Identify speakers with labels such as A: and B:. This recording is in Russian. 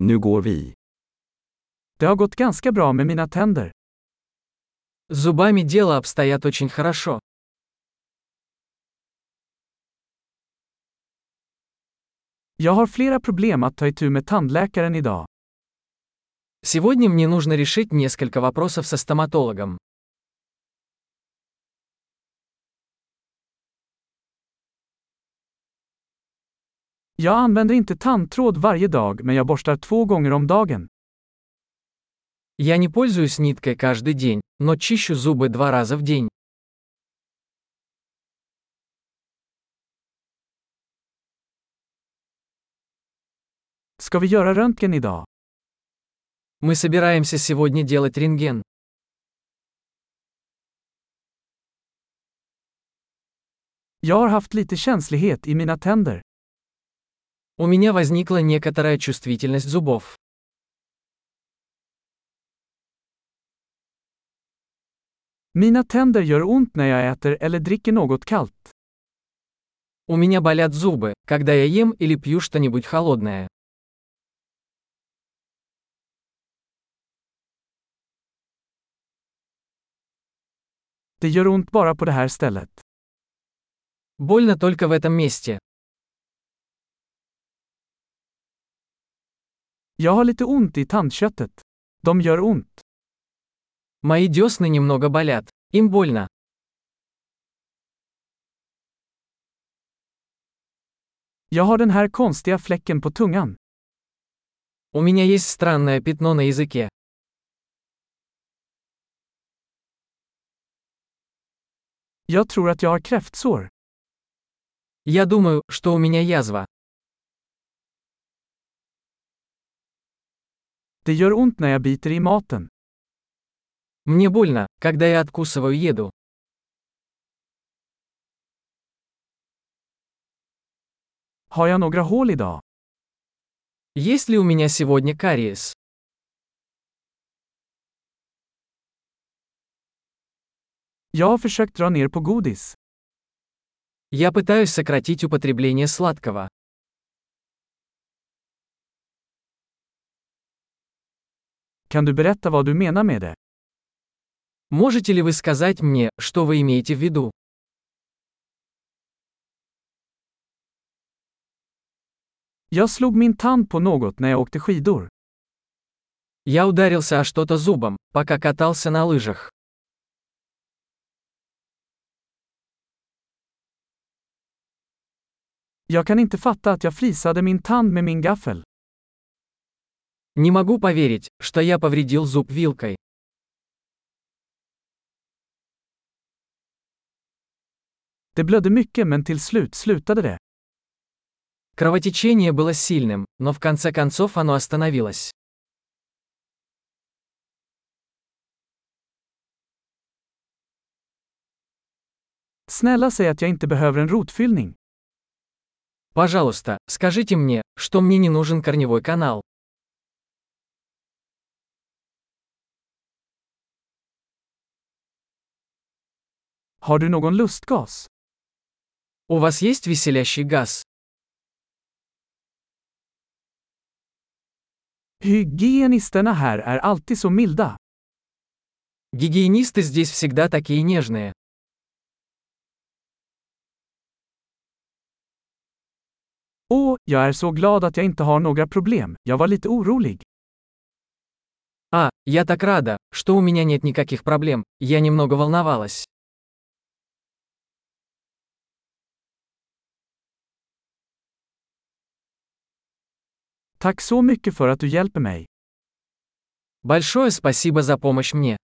A: Nu går vi.
B: Det har gått ganska bra med mina tänder.
C: С зубами дело обстоят очень хорошо.
B: Jag har flera problem att ta itu med tandläkaren idag.
C: Сегодня мне нужно решить несколько вопросов со стоматологом.
B: Jag använder inte tandtråd varje dag men jag borstar två gånger om dagen.
C: Я не пользуюсь ниткой каждый день, но чищу зубы два раза в день.
B: Ska vi göra röntgen idag?
C: Мы собираемся сегодня делать рентген.
B: Jag har haft lite känslighet i mina tänder.
C: У меня возникла некоторая чувствительность зубов.
B: Mina tänder gör ont när jag äter eller dricker något kallt.
C: У меня болят зубы, когда я ем или пью что-нибудь холодное.
B: Det gör ont bara på det här stället.
C: Больно только в этом месте.
B: Jag har lite ont i tandköttet. De gör ont.
C: Мои десны немного болят. Им больно.
B: Jag har den här konstiga fläcken på tungan.
C: У меня есть странное пятно на языке.
B: Jag tror att jag har kräftsår.
C: Я думаю, что у меня язва.
B: Det gör ont när jag biter i maten.
C: Мне больно, когда я откусываю еду.
B: Har jag några hål idag?
C: Есть ли у меня сегодня кариес?
B: Jag har försökt dra ner på godis.
C: Я пытаюсь сократить употребление сладкого.
B: Kan du berätta vad du menar med det?
C: Можете ли вы сказать мне, что вы имеете в виду?
B: Jag slog min tand på något när jag åkte skidor.
C: Я ударился о что-то зубом, пока катался на лыжах.
B: Jag kan inte fatta att jag flisade min tand med min gaffel.
C: Не могу поверить, что я повредил зуб вилкой.
B: Det blödde mycket men till slut slutade det.
C: Кровотечение было сильным, но в конце концов оно остановилось.
B: Snälla säg att jag inte behöver en rotfyllning.
C: Пожалуйста, скажите мне, что мне не нужен корневой канал.
B: Har du någon lustgas?
C: У вас есть веселящий газ?
B: Hygienisterna här är alltid så milda.
C: Гигиенисты здесь всегда такие нежные.
B: Åh, jag är så glad att jag inte har några problem. Jag var lite orolig.
C: А, я так рада, что у меня нет никаких проблем, я немного волновалась.
B: Tack så mycket för att du hjälper mig.
C: Большое спасибо за помощь мне.